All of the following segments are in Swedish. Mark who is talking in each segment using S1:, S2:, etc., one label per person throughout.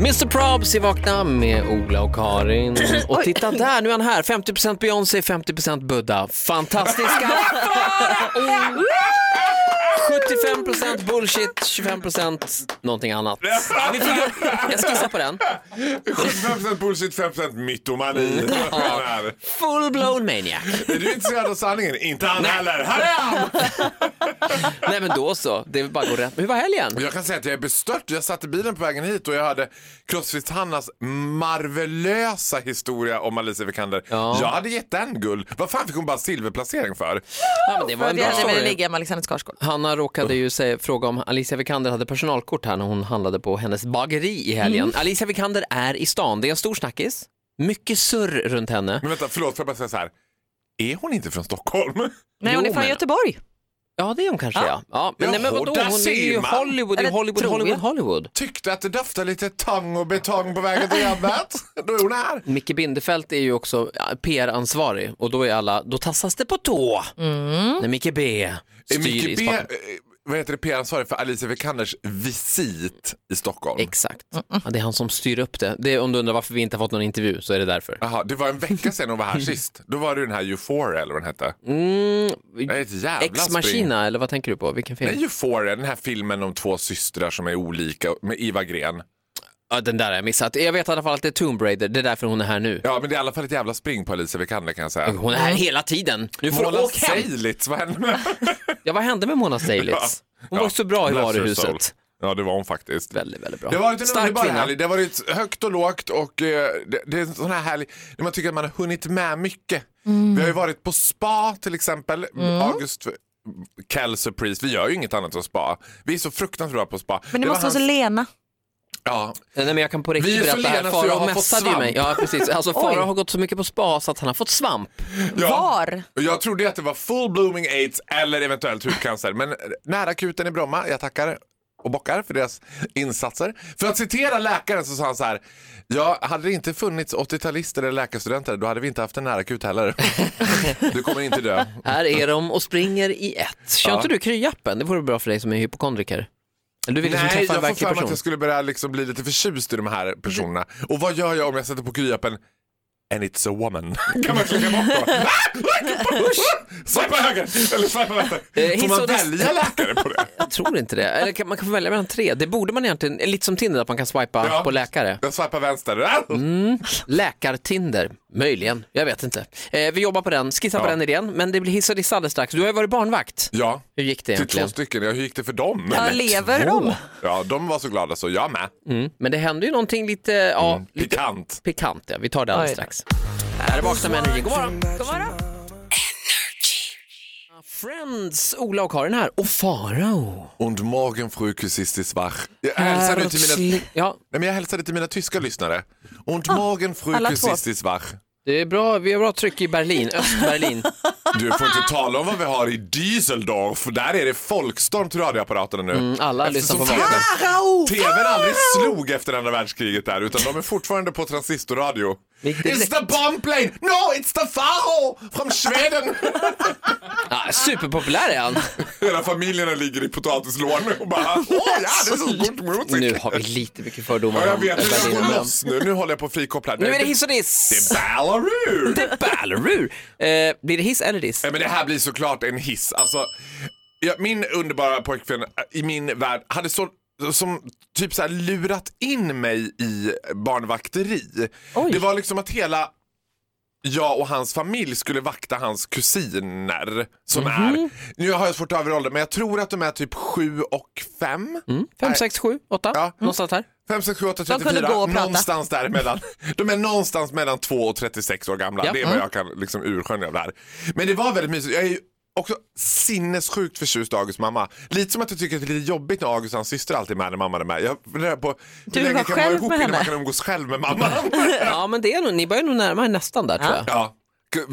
S1: Mr Probs i Vakna med Ola och Karin. Och titta där, nu är han här. 50% Beyoncé, 50% Buddha. Fantastiska! 75% bullshit, 25% någonting annat. Ja, Vi fick upp, jag skissar på den.
S2: 75% bullshit, 5% mytomani. Han är.
S1: Full-blown maniac.
S2: Är du intresserad av sanningen? Inte han heller. Här är han!
S1: Nej men då så, det är bara att gå rätt. Hur var helgen?
S2: Jag kan säga att jag är bestört. Jag satt i bilen på vägen hit och jag hörde Crossfit-Hannas marvelösa historia om Alicia Vikander.
S1: Ja.
S2: Jag hade gett den guld. Vad fan fick hon bara silverplacering för?
S1: Ja, men det var en bra
S3: Jag hade velat
S1: story.
S3: ligga med Alexander Skarsgård.
S1: Hanna råkade ju säga, fråga om Alicia Vikander hade personalkort här när hon handlade på hennes bageri i helgen.
S2: Mm.
S1: Alicia Vikander är i stan, det är en stor snackis. Mycket surr runt henne.
S2: Men vänta, förlåt, får jag bara säga så här. Är hon inte från Stockholm?
S3: Nej,
S1: Jo,
S3: hon är från
S1: men-
S3: Göteborg.
S1: Ja det är hon kanske ja. ja. Men,
S2: Ja,
S1: nej, men vadå,
S2: där
S1: hon är
S2: ser
S1: ju
S2: man.
S1: Hollywood, det är
S3: Eller
S1: Hollywood,
S3: tror jag.
S1: Hollywood, Hollywood.
S2: Tyckte att det doftade lite tang och betong på vägen till jobbet. Då är hon här.
S1: Micke Bindefeld är ju också ja, PR-ansvarig och då är alla, då tassas det på tå när Micke B
S2: Mm. Är
S1: styr i
S2: Micke B, eh,
S1: spaken.
S2: vad heter det, PR-ansvarig för Alicia Vikanders visit i Stockholm?
S1: Exakt,
S2: mm.
S1: ja, det är han som styr upp det. det. är- Om du undrar varför vi inte har fått någon intervju så är det därför.
S2: Jaha, det var en vecka sedan hon var här sist. Då var det ju den här Euphoria eller vad den hette.
S1: Mm,
S2: Det är ett jävla
S1: Ex
S2: spring.
S1: Machina eller vad tänker du på? Vilken film?
S2: Nej, Euphoria, den här filmen om två systrar som är olika med Iva Gren.
S1: Ja, den där har jag missat. Jag vet i alla fall att det är Tomb Raider, det är därför hon är här nu.
S2: Ja, men det är i alla fall ett jävla spring på Alicia Vikander kan jag säga.
S1: Hon är här hela tiden. Nu får du
S2: Mona
S1: åka hem.
S2: Seilitz, vad hände med
S1: Ja, vad hände med Mona Seilitz? Hon
S2: Ja,
S1: var så bra i
S2: bless her
S1: varuhuset.
S2: soul. Ja, det var hon faktiskt.
S1: Väldigt, väldigt bra.
S2: Det har varit en
S1: Stark
S2: underbar
S1: kvinna.
S2: helg. Det har varit högt och lågt och eh, det, det är en sån här helg när man tycker att man har hunnit med mycket.
S3: Mm.
S2: Vi har ju varit på spa till exempel. August Kell Surprise. Vi gör ju inget annat än spa. Vi är så fruktansvärt bra på spa.
S3: Men det
S2: var
S3: måste vara så
S2: hans-
S3: lena.
S2: Ja,
S1: Nej, men jag kan på
S2: Vi
S1: riktigt
S2: är så
S1: berätta här.
S2: lena så jag
S1: Farao
S2: har fått
S1: messade ju
S2: svamp.
S1: mig. Ja, precis. Alltså,
S3: Oj.
S1: Farao har gått så mycket på spa så att han har fått svamp.
S2: ja.
S3: Var?
S2: Och Jag trodde ju att det var full blooming aids eller eventuellt hudcancer. Men nära akuten i Bromma, jag tackar och bockar för deras insatser. För att citera läkaren så sa han så här. Ja, hade det inte funnits 80-talister eller läkarstudenter då hade vi inte haft en nära akut heller. Du kommer inte dö.
S1: Här är de och springer i ett. Kör
S2: Ja.
S1: inte du kryappen? Det vore bra för dig som är hypokondriker. Eller du vill liksom
S2: Nej,
S1: träffa en
S2: jag får
S1: verklig
S2: för mig att
S1: person.
S2: jag skulle börja liksom bli lite förtjust i de här personerna. Och vad gör jag om jag sätter på kryappen And it's a woman. Kan man klicka bort då? Swipa höger! Eller swipa vänster.
S1: Eh,
S2: Får
S1: hiss
S2: man
S1: och diss.
S2: välja läkare på det?
S1: Jag tror inte det. Eller kan, man kan få välja mellan tre. Det borde man egentligen, lite som Tinder, att man kan swipa
S2: Ja.
S1: på läkare.
S2: Jag swipar vänster.
S1: Läkartinder, möjligen. Jag vet inte. Eh, vi jobbar på den, skissar på
S2: Ja.
S1: den idén, men det blir hiss och diss alldeles strax. Du har ju varit barnvakt.
S2: Ja,
S1: Hur gick det
S2: till Typ två
S1: egentligen?
S2: stycken. Ja, hur gick det för dem?
S3: Ja, lever de?
S2: Ja, de var så glada så jag med.
S1: Mm. Men det hände ju någonting lite, ja,
S2: Mm.
S1: lite
S2: Pikant.
S1: pikant. Ja. Vi tar det alldeles
S3: Oj.
S1: strax. Här är Vakna med Energy. God morgon!
S3: God morgon.
S1: Friends, Ola och Karin här. Och Farao.
S2: Und morgen fru kusistis wach. Jag hälsade, till mina, nej,
S1: Herzlich- Ja,
S2: men jag hälsade till mina tyska lyssnare. Und morgen fru
S3: Ah, alla två.
S2: kusistis wach.
S1: det är bra. Vi har bra tryck i Berlin, Östberlin.
S2: Du får inte tala om vad vi har i Düsseldorf. Där är det folkstorm till radioapparaterna nu.
S1: Mm, alla lyssnar
S2: Eftersom
S1: på varandra.
S3: Farao!
S2: TVn aldrig slog efter andra världskriget där utan de är fortfarande på transistorradio.
S1: Vilket
S2: It's the bomb plane! No, it's the Faro from Sweden!
S1: Ja, superpopulär är han.
S2: Hela familjerna ligger i potatislådan och bara åh ja, det är så god musik.
S1: Nu har vi lite mycket fördomar
S2: ja, jag
S1: om
S2: vet, nu
S1: Berlin.
S2: går det loss nu. Nu håller jag på att frikoppla.
S1: Nu är det hiss och diss.
S2: Det är Ballaroo!
S1: Ballerur. Eh, blir det hiss eller diss?
S2: Nej, men det här blir såklart en hiss. Alltså, ja, min underbara pojkvän äh, i min värld hade så, som typ så här lurat in mig i barnvakteri.
S1: Oj.
S2: Det var liksom att hela jag och hans familj skulle vakta hans kusiner som är, nu har jag svårt att överhålla men jag tror att de är typ sju och fem.
S1: Fem, sex, sju, åtta?
S2: Ja. Mm.
S1: Någonstans här.
S2: 5, 6, 7, 8,
S3: De kunde
S2: 34.
S3: gå och prata.
S2: någonstans däremellan. De är någonstans mellan 2 och 36 år gamla.
S1: Ja.
S2: Det är
S3: Mm.
S2: vad jag kan liksom urskönja av det här. Men det var väldigt mysigt. Jag är ju också sinnessjukt förtjust i Augusts mamma. Lite som att jag tycker att det är lite jobbigt när August och hans syster alltid är med när mamman är med. Jag funderar på
S3: Du
S2: hur länge
S3: vill vara
S2: kan man vara
S3: själv
S2: ihop
S3: med
S2: innan man
S3: henne.
S2: kan umgås själv med mamman?
S1: Ja, men det är nog, ni börjar nog närma er nästan där tror jag.
S2: ja.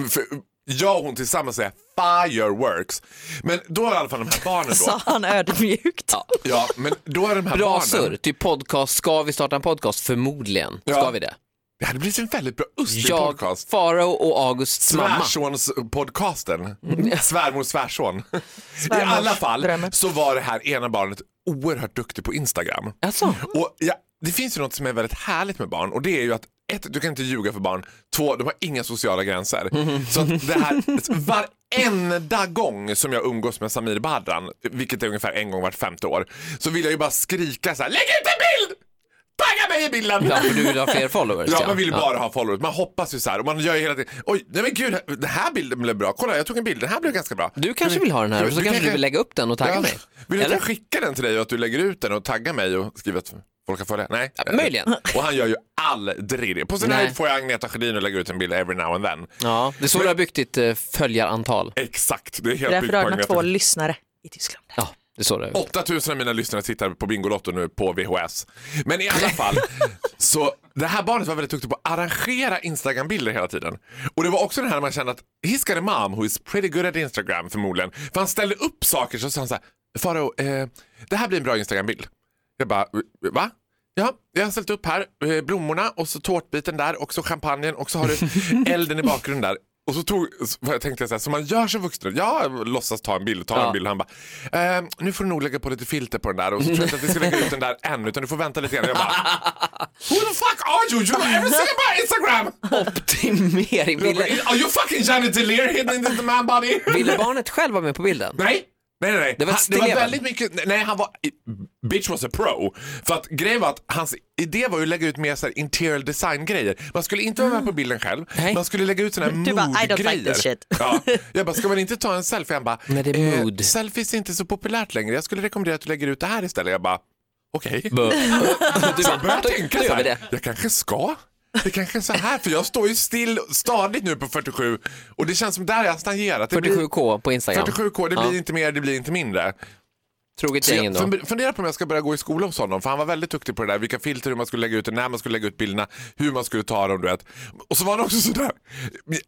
S2: För jag och hon tillsammans är fireworks. Men då är i alla fall de här barnen då.
S3: Sa han ödmjukt.
S2: Ja, men då är de här
S1: Bra
S2: barnen.
S1: surr, typ podcast, ska vi starta en podcast? Förmodligen
S2: Ja.
S1: ska vi det.
S2: Det hade blivit en väldigt bra östlig
S1: Jag,
S2: podcast.
S1: Farao och Augusts mamma. Mm.
S2: Svärsonspodcasten. Svärmor svärson. I alla fall
S3: drömmen.
S2: så var det här ena barnet oerhört duktig på Instagram.
S1: Alltså,
S2: Och jag det finns ju något som är väldigt härligt med barn och det är ju att ett, du kan inte ljuga för barn. Två, de har inga sociala gränser.
S1: Mm.
S2: Så att det här, varenda gång som jag umgås med Samir Badran, vilket är ungefär en gång vart femte år, så vill jag ju bara skrika så här, lägg ut en bild! Tagga mig i bilden!
S1: Ja, för du vill ha fler followers.
S2: Ja, man vill ju bara ha followers. Man hoppas ju så här och man gör ju hela tiden, oj, nej men gud, den här bilden blev bra. Kolla, jag tog en bild, den här blev ganska bra.
S1: Du kanske vill ha den här och så
S2: Du
S1: kanske du
S2: kanske-
S1: vill lägga upp den och tagga
S2: Ja.
S1: mig.
S2: Vill du att
S1: Eller?
S2: jag skickar den till dig och att du lägger ut den och taggar mig och skriver att folk kan följa? Nej.
S1: Möjligen.
S2: Och han gör ju aldrig det. På sin
S1: Nej.
S2: höjd får jag Agneta Sjödin att lägga ut en bild every now and then.
S1: Ja, det är så du har byggt ditt eh, följarantal.
S2: Exakt, det är helt
S3: Därför
S2: byggt
S3: har
S2: på
S3: man
S2: Agneta
S3: två
S2: Sjödin.
S3: lyssnare i Tyskland.
S1: 8000
S2: 8000 av mina lyssnare tittar på Bingolotto nu på VHS. Men i alla fall, så det här barnet var väldigt duktigt på att arrangera Instagram-bilder hela tiden. Och det var också den här man kände att he's got a mom who is pretty good at Instagram förmodligen. För han ställde upp saker så sa han så här, Faro, eh, det här blir en bra Instagram-bild. Jag bara, va? Ja, jag har ställt upp här eh, blommorna och så tårtbiten där och så champagnen och så har du elden i bakgrunden där. Och så tog, så jag tänkte jag så här, som man gör som vuxen, jag låtsas ta en bild, ta
S1: Ja.
S2: en bild och han bara, ehm, nu får du nog lägga på lite filter på den där och så tror jag inte att vi ska lägga ut den där än utan du får vänta lite grann. Jag bara, who the fuck are you? You know everything about Instagram!
S1: Optimering.
S2: Jag
S1: Ville,
S2: bara, Are you fucking Johnny Delir hidden in the man body?
S1: ville barnet själv vara med på bilden?
S2: Nej. Nej, nej, nej.
S1: Det var ett
S2: han, det var
S1: stilleben.
S2: väldigt mycket, nej han var, bitch was a pro. För att grejen var att hans idé var ju att lägga ut mer så här interior design grejer. Man skulle inte vara med på bilden själv,
S1: Nej.
S2: man skulle lägga ut sådana här
S3: Du bara, "I don't like
S2: mood-grejer.
S3: this shit."
S2: ja. Jag bara, ska man inte ta en selfie? Han bara, "Eh,
S1: Nej, det är mood.
S2: selfies är inte så populärt längre, jag skulle rekommendera att du lägger ut det här istället. Jag bara, okej.
S1: Bö.
S2: Så jag började tänka
S1: då gör
S2: så
S1: vi
S2: här,
S1: det.
S2: jag kanske ska. Det kanske är så här, för jag står ju still stadigt nu på 47 och det känns som där jag har stagnerat. Det blir-
S1: 47k på Instagram.
S2: 47K, det
S1: Ja.
S2: blir inte mer, det blir inte mindre.
S1: Troget
S2: Så
S1: gäng
S2: jag
S1: ändå.
S2: fun- funderar på om jag ska börja gå i skola hos honom, för han var väldigt duktig på det där. Vilka filter, hur man skulle lägga ut det, när man skulle lägga ut bilderna, hur man skulle ta dem, du vet. Och så var han också sådär,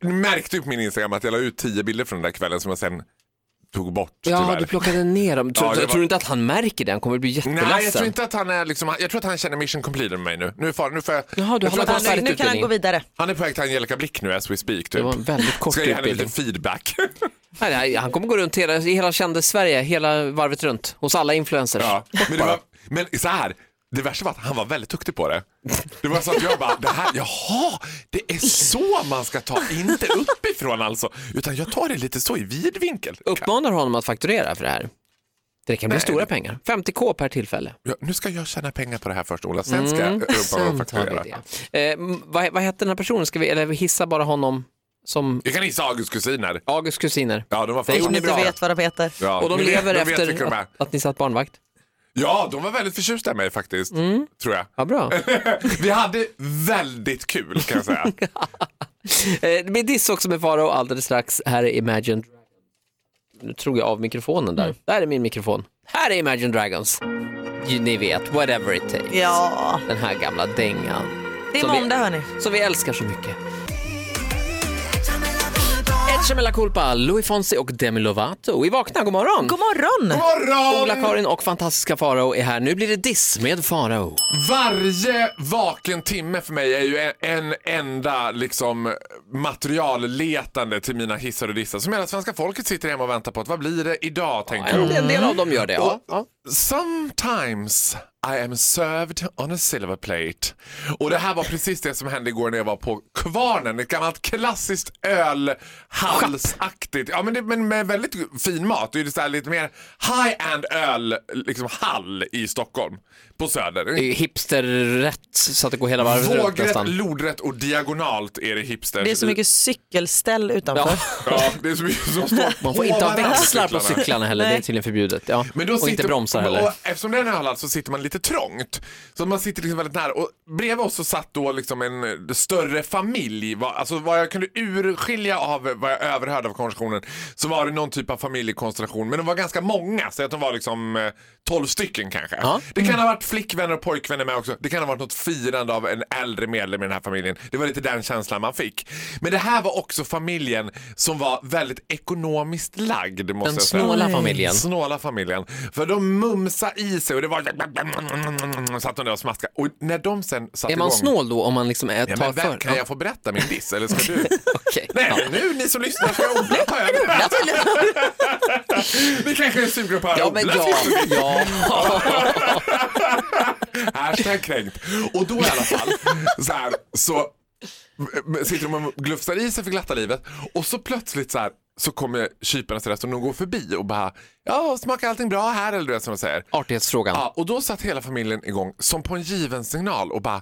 S2: ni märkte ju på min Instagram att jag la ut tio bilder från den där kvällen som jag sen tog bort
S1: Ja,
S2: tyvärr.
S1: du plockade ner dem. Tror,
S2: Ja, det var-
S1: tror du inte att han märker det? Han kommer bli
S2: Nej, jag tror
S1: jätteledsen.
S2: inte att han är liksom, jag tror att han känner mission completed med mig nu. Nu är far, nu får jag,
S1: Jaha, du
S2: jag tror
S1: har
S2: att han,
S1: bara-
S3: nu, nu kan han gå vidare.
S2: han är på väg till Angelica Blick nu as we speak
S1: Det
S2: typ.
S1: var en väldigt kort
S2: Ska jag ge henne lite
S1: utbildning.
S2: feedback.
S1: Nej, nej, han kommer gå runt hela, i hela kändes-Sverige, hela varvet runt, hos alla influencers.
S2: Ja, men, det var, men så här, det värsta var att han var väldigt duktig på det. Det var så att jag bara, det här, jaha, det är så man ska ta, inte uppifrån alltså. Utan jag tar det lite så i vid vinkel.
S1: Uppmanar honom att fakturera för det här. Det kan bli
S2: Nej.
S1: stora pengar. 50k per tillfälle.
S2: Ja, nu ska jag tjäna pengar på det här först Ola, sen ska jag rumpa och
S1: Sen tar
S2: fakturera.
S1: vi det. Eh, m- vad, vad hette den här personen? Ska vi, eller vi hissar bara honom som
S2: Jag kan gissa Augusts kusiner.
S1: Augusts kusiner?
S2: Ja, de var
S1: Det
S2: fan
S1: gjorde
S2: de
S3: Om
S1: ni
S2: är
S1: inte
S3: du
S2: bra.
S3: vet vad de heter.
S2: Ja,
S1: Och de
S2: ni vet-
S1: lever
S2: ni vet
S1: efter
S2: vilka de är.
S1: att, att ni satt barnvakt?
S2: Ja, de var väldigt förtjusta i mig faktiskt,
S1: Mm.
S2: tror jag.
S1: Ja, bra.
S2: Vi hade väldigt kul kan jag säga.
S1: Eh, Det blir diss också med Faro alldeles strax. Här är Imagine Dragons. Nu tror jag av mikrofonen där. Där är min mikrofon. Här är Imagine Dragons. Ju- Ni vet, whatever it takes.
S3: Ja,
S1: Den här gamla dängan.
S3: det är
S1: Som vi-
S3: måndag hörni.
S1: Som vi älskar så mycket. Etche Mella Culpa, Louis Fonsi och Demi Lovato. Vi vaknar, god morgon!
S3: God morgon!
S2: Morgon!
S1: Ola-Karin och fantastiska Farao är här. Nu blir det diss med Farao.
S2: Varje vaken timme för mig är ju en, en enda liksom, materialletande till mina hissar och dissar som hela svenska folket sitter hemma och väntar på. Att, vad blir det idag? tänker
S1: En,
S2: jag.
S1: en del av dem gör det, ja. ja.
S2: Sometimes I am served on a silver plate. Och det här var precis det som hände igår när jag var på Kvarnen, ett gammalt klassiskt ölhalsaktigt, ja men, det, men med väldigt fin mat. Det är ju så här lite mer high-end öl, liksom hall i Stockholm på Söder.
S1: Det är ju hipsterrätt så att det går hela varvet runt
S2: Vågrätt,
S1: nästan.
S2: lodrätt och diagonalt är det hipsters.
S3: Det är så mycket cykelställ utanför.
S1: Ja.
S2: Ja, det är så mycket som står
S1: Man får inte ha
S2: på varandra
S1: växlar på
S2: cyklarna.
S1: cyklarna heller, det är
S3: Nej.
S1: tydligen förbjudet. Ja.
S2: Men då
S1: och inte
S2: sitter-
S1: bromsar heller.
S2: Och eftersom det är en ölhall så sitter man lite trångt. Så man sitter liksom väldigt nära. Och bredvid oss så satt då liksom en eh, större familj. Va- Alltså vad jag kunde urskilja av vad jag överhörde av konversationen så var det någon typ av familjekonstellation. Men de var ganska många. Så att de var liksom eh, 12 stycken kanske.
S1: Ja. Mm.
S2: Det kan ha varit flickvänner och pojkvänner med också. Det kan ha varit något firande av en äldre medlem i den här familjen. Det var lite den känslan man fick. Men det här var också familjen som var väldigt ekonomiskt lagd. Måste
S1: Den
S2: jag säga.
S1: snåla familjen.
S2: Snåla familjen. För de mumsade i sig och det var satt hon där och smaskade. Och när de sen satte
S1: Är man
S2: igång...
S1: snål då om man liksom är,
S2: Ja,
S1: tar
S2: men
S1: för?
S2: vem, kan jag få berätta min diss eller ska du?
S1: Okej.
S2: Nej,
S1: Ja.
S2: men nu ni som lyssnar ska odla ta över. Ni kanske är sugna på att
S1: Ja,
S2: odla.
S1: men ja, ja.
S2: Hashtag kränkt. Och då i alla fall så, här, så m- m- sitter de och glufsar i sig för glatta livet och så plötsligt så här så kommer kyparna till resten och de går förbi och bara ja smakar allting bra här eller du vet som de säger.
S1: Artighetsfrågan.
S2: Ja, och då satt hela familjen igång som på en given signal och bara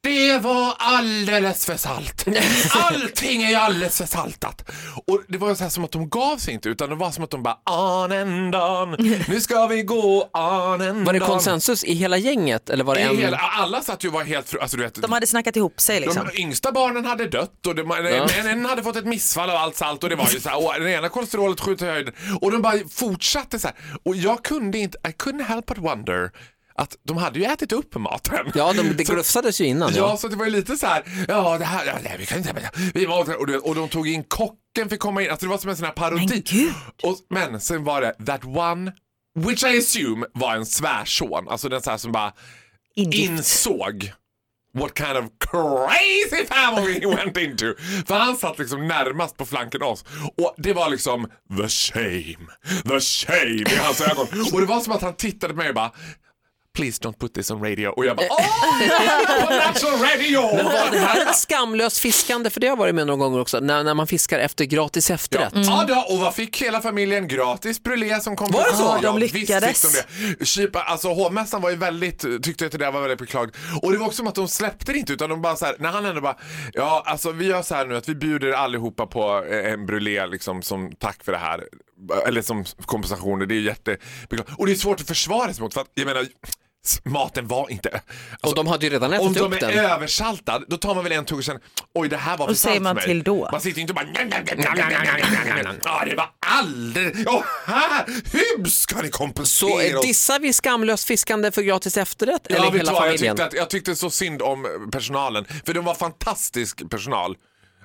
S2: det var alldeles för salt. Allting är ju alldeles för saltat. Och det var ju så här som att de gav sig inte utan det var som att de bara anendan, nu ska vi gå anendan.
S1: Var det konsensus i hela gänget? Eller var det
S2: I
S1: en...
S2: Hela, alla satt ju och var helt... fru- Alltså, du vet, de,
S3: De hade snackat ihop sig liksom.
S2: yngsta barnen hade dött och de, en, en hade fått ett missfall av allt salt och det var ju så här, och det ena kolesterolet skjuter i höjden. Och de bara fortsatte så här. Och jag kunde inte, I couldn't help but wonder att de hade ju ätit upp maten.
S1: Ja, de, det
S2: Så-
S1: glufsades ju innan.
S2: Ja,
S1: Ja.
S2: så det var ju lite så här, ja det här, ja, nej, vi kan inte, men- vi måste, och, du- och de tog in kocken fick komma in, alltså det var som en sån här parodi.
S3: Men gud.
S2: Och, men sen var det that one, which I assume var en svärson, alltså den så här som bara
S3: Ingift.
S2: insåg what kind of crazy family he went into. För han satt liksom närmast på flanken av oss. Och det var liksom the shame, the shame i hans ögon. Och det var som att han tittade på mig och bara Please don't put this on radio. Och jag bara Åh, oh, that's on radio!
S1: Var det här ett skamlöst fiskande? För det har jag varit med några gånger också. När, när man fiskar efter gratis
S2: Ja.
S1: efterrätt.
S2: Ja, då, och vad fick hela familjen? Gratis brulé som kom. Var
S3: det så? De lyckades.
S2: Visst fick de det. Kypa, alltså hovmästaren var ju väldigt, tyckte att det där var väldigt beklagligt. Och det var också som att de släppte det inte utan de bara så här, när han ändå bara, ja alltså vi gör så här nu att vi bjuder allihopa på eh, en brulé liksom som tack för det här. Eller som kompensation, det är jättebeklagligt. Och det är svårt att försvara sig mot för att, jag menar, s- maten var inte...
S1: Och
S2: alltså,
S1: de hade ju redan
S2: om
S1: ätit
S2: de
S1: upp
S2: är
S1: den.
S2: översaltad, då tar man väl en tugga och sen, oj det här var för
S3: Och säger
S2: salt
S3: man
S2: för mig.
S3: till då?
S2: Man sitter ju inte och bara, "Njam, njam, njam, njam, njam, njam, njam, njam, njam." ja det var alldeles, oh, här, hur ska ni kompensera
S1: Så eh,
S2: oss?
S1: dissar vi skamlöst fiskande för gratis efterrätt?
S2: Ja,
S1: eller
S2: vet
S1: hela
S2: du vad, jag,
S1: familjen?
S2: tyckte att, jag tyckte så synd om personalen, för de var fantastisk personal.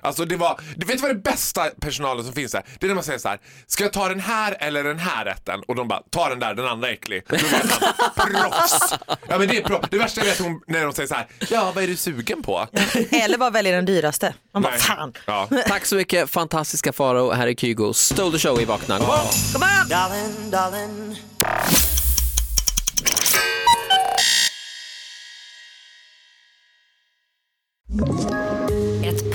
S2: Alltså det var, du vet vad det bästa personalen som finns här, det är när man säger så här, ska jag ta den här eller den här rätten? Och de bara, ta den där, den andra är äcklig. Då vet man, proffs! Ja men det är proffs. Det värsta jag vet är hon- när de säger så här, ja vad är du sugen på?
S3: Eller bara välja den dyraste. Man bara
S2: Nej.
S3: fan.
S2: Ja.
S1: Tack så mycket, fantastiska Faro. Här är Kygo. Stole the show i Vakna.
S3: Kom igen!
S4: Darling, darling.
S5: Ett